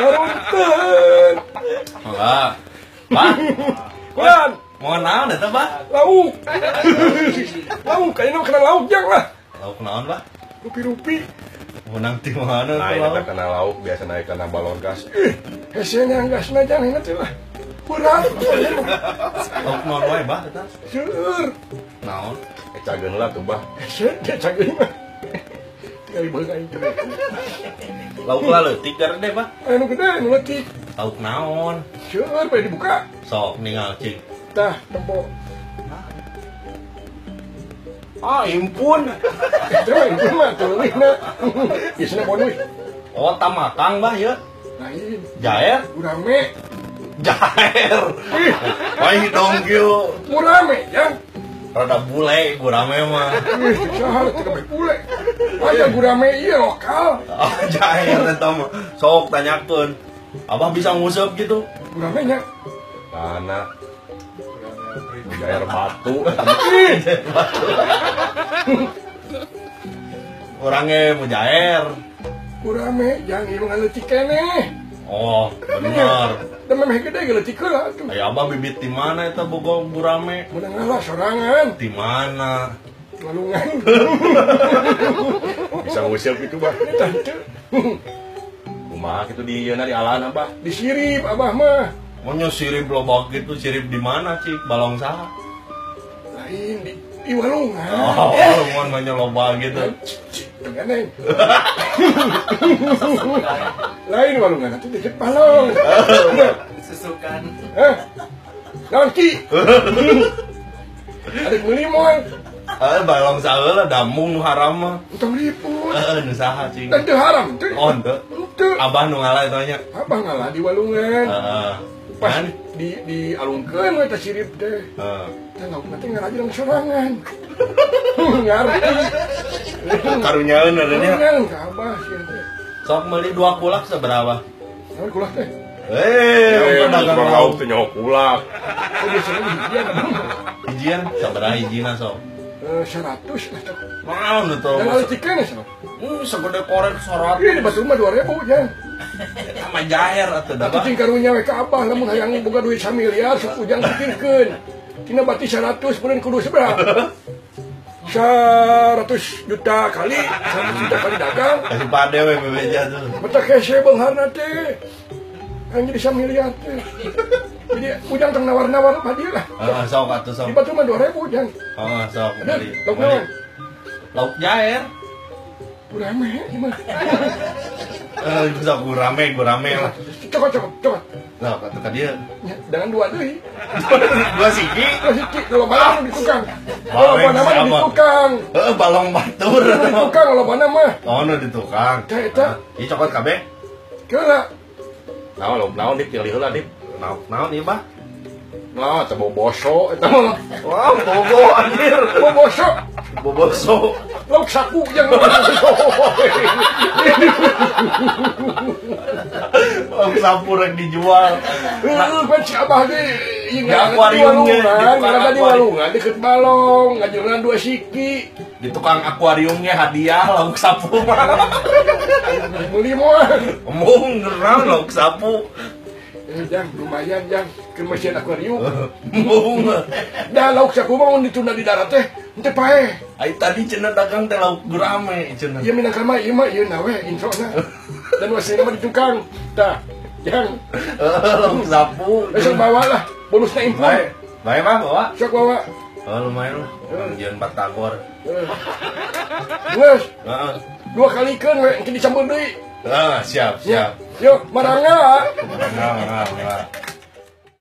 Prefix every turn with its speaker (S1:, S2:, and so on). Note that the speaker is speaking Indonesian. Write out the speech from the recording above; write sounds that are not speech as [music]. S1: Harunten.
S2: Wah. Pak,
S1: Kulan,
S2: mohon naon eta, Pak?
S1: lauk. lauk, kayaknya mah kena lauk jang lah.
S2: Lauk naon, Pak?
S1: Rupi-rupi.
S2: Menang ti mohon atuh,
S3: Nah, ini
S2: lauk.
S3: mah kena lauk biasa naik kena balon gas.
S1: Eh, hesenya enggak senajang ingat sih lah. Kurang.
S2: Lauk naon wae, Pak, eta?
S1: Seur.
S2: Naon?
S3: Eh, cageun lah tuh bah.
S1: Hesenya canggih mah. Tinggal dibaga itu.
S2: Lauk lah leutik keur deh, Pak.
S1: Anu gede, anu letik.
S2: Lauk naon?
S1: Seur, pengen dibuka.
S2: Sok ningal cing.
S1: Tah, tempo.
S3: Ah, impun.
S1: Coba itu mah, tuh lih na. Ya sana bodoh.
S2: Oh, tamakang, Pak, ya.
S1: Lain.
S2: Jaer,
S1: Kurang me.
S2: jaer.
S1: Ih,
S2: Wah, dong kieu.
S1: murah me, jang.
S2: Rada bule gurame mah.
S1: Ih, sahar, tidak baik pule. Ayah gurame iya lokal.
S2: Ah, jair eta mah. Sok tanyakeun. Abah bisa ngusap gitu.
S1: Gurame nya.
S3: Karena air batu.
S2: Orangnya mau jair.
S1: Gurame, jang iya ngaletik kene.
S2: Oh, bener.
S1: Dan memang gede ngaletik lah. tuh.
S2: Ayo abah bibit di mana eta bogor gurame?
S1: Menang lah sorangan.
S2: Di mana?
S1: Ngalungan.
S3: Bisa ngusir gitu bah. Kumaha gitu di ieu di alaan bah.
S1: Disirip abah mah.
S2: Mau Oh, nyusirip lobak gitu, sirip di mana cik? Balong saha?
S1: Lain di, di walungan.
S2: Oh, mau nanya loba gitu.
S1: Tengeneng. Lain walungan nanti deket palong. Nah,
S4: susukan
S1: Hah? Naon ki? Ada melimon.
S2: Eh, balong saha lah, damung nu haram mah.
S1: Utang liput.
S2: Eh, nu saha cik?
S1: Dan teu haram. Teu.
S2: Oh, ente.
S1: Teu.
S2: Abah nu ngalah tanya.
S1: Abah ngalah di walungan.
S2: Eh,
S1: Pas
S2: kan?
S1: di di alungkeun we teh sirip teh.
S2: Eh,
S1: Teh lauk nanti ngaraji langsung sorangan. Ngarti.
S2: karunyaeun adanya.
S1: Tenang, kabah sih. teh.
S2: Sok beli dua kulak seberapa?
S1: Naon kulah teh?
S2: Eh,
S3: Eh,
S2: udah dagang
S3: tukang
S2: lauk.
S3: lauk tuh nyawa kulak.
S1: Oh, biasanya di dia kan.
S2: Ijian, seberapa ijinan sok?
S1: Eh, 100 lah. teh.
S2: Mau nu tuh.
S1: Dan alis tikenya sama.
S2: Hmm, segede korek sorak
S1: Iya di batu mah 2000 ya.
S2: sama jair atau
S1: Tapi
S2: dapat.
S1: cing karunya we ka abah lamun hayang boga duit samiliar sok ujang pikirkeun. Tina bati 100 bulan kudu seberapa? 100 juta kali, 100 juta kali dagang.
S2: Kasih pade we bebeja tuh.
S1: Mata kese beungharna teh. Kan jadi samiliar teh. Jadi ujang tang nawar-nawar hadiah lah.
S2: Heeh, sok atuh sok.
S1: Di batu mah 2000 ujang.
S2: Heeh, sok
S1: Dan
S2: beli.
S1: lauk
S2: Beli.
S1: naon?
S2: Lauk jair.
S1: Udah meh gimana?
S2: Eh, sok gurame, gurame lah.
S1: Ah, Coba coba coba.
S2: Lah, kata tadi
S1: Ya, dengan dua deui.
S2: dua siki.
S1: Terus iki lobana di tukang. Lobana mah di
S2: sama.
S1: tukang.
S2: Heeh, balong batur.
S1: Di tukang lobana mah.
S2: Oh, nu di tukang.
S1: Tah, eta.
S2: Ih, cokot kabeh.
S1: Kira
S3: Naon lauk naon dik pilih heula dik.
S2: Naon naon ieu, Bah?
S3: Nah, teu bau boso
S1: [laughs]
S3: eta mah.
S2: Wah, bogo anjir.
S1: mau bosok
S2: Boboso.
S1: lauk saku yang
S2: Lauk sapu rek dijual.
S1: Heeh, kan si Abah ge
S2: Di
S1: ingat
S2: akuariumnya, di tukang
S1: karena di
S2: akuarium.
S1: walungan deket balong, ngajuran dua siki,
S2: Di tukang akuariumnya hadiah lauk sapu mah.
S1: beli moal.
S2: Omong ngerang lauk sapu.
S1: Eh, jang lumayan jang ke mesin akuarium.
S2: Oh. Mung.
S1: Dah lauk saku mau ditunda di darat teh, teu pae.
S2: Ai tadi cenah dagang teh lauk gurame cenah.
S1: Iya minang kalma iya mah iya nawe intro na. Dan wasina mah di tukang. Tah, jang
S2: [laughs] Eh, lauk sapu.
S1: besok bawa lah bonusnya impor.
S2: Bae, bae mah bawa.
S1: Besok bawa.
S2: Oh, lumayan lah. Orang Jangan batagor.
S1: Eh. Wes,
S2: Heeh.
S1: dua kali kan we engke dicampur deui.
S2: Ah, siap,
S1: Ya.
S2: siap.
S1: Yuk, marangga.
S2: Enggak, enggak, enggak.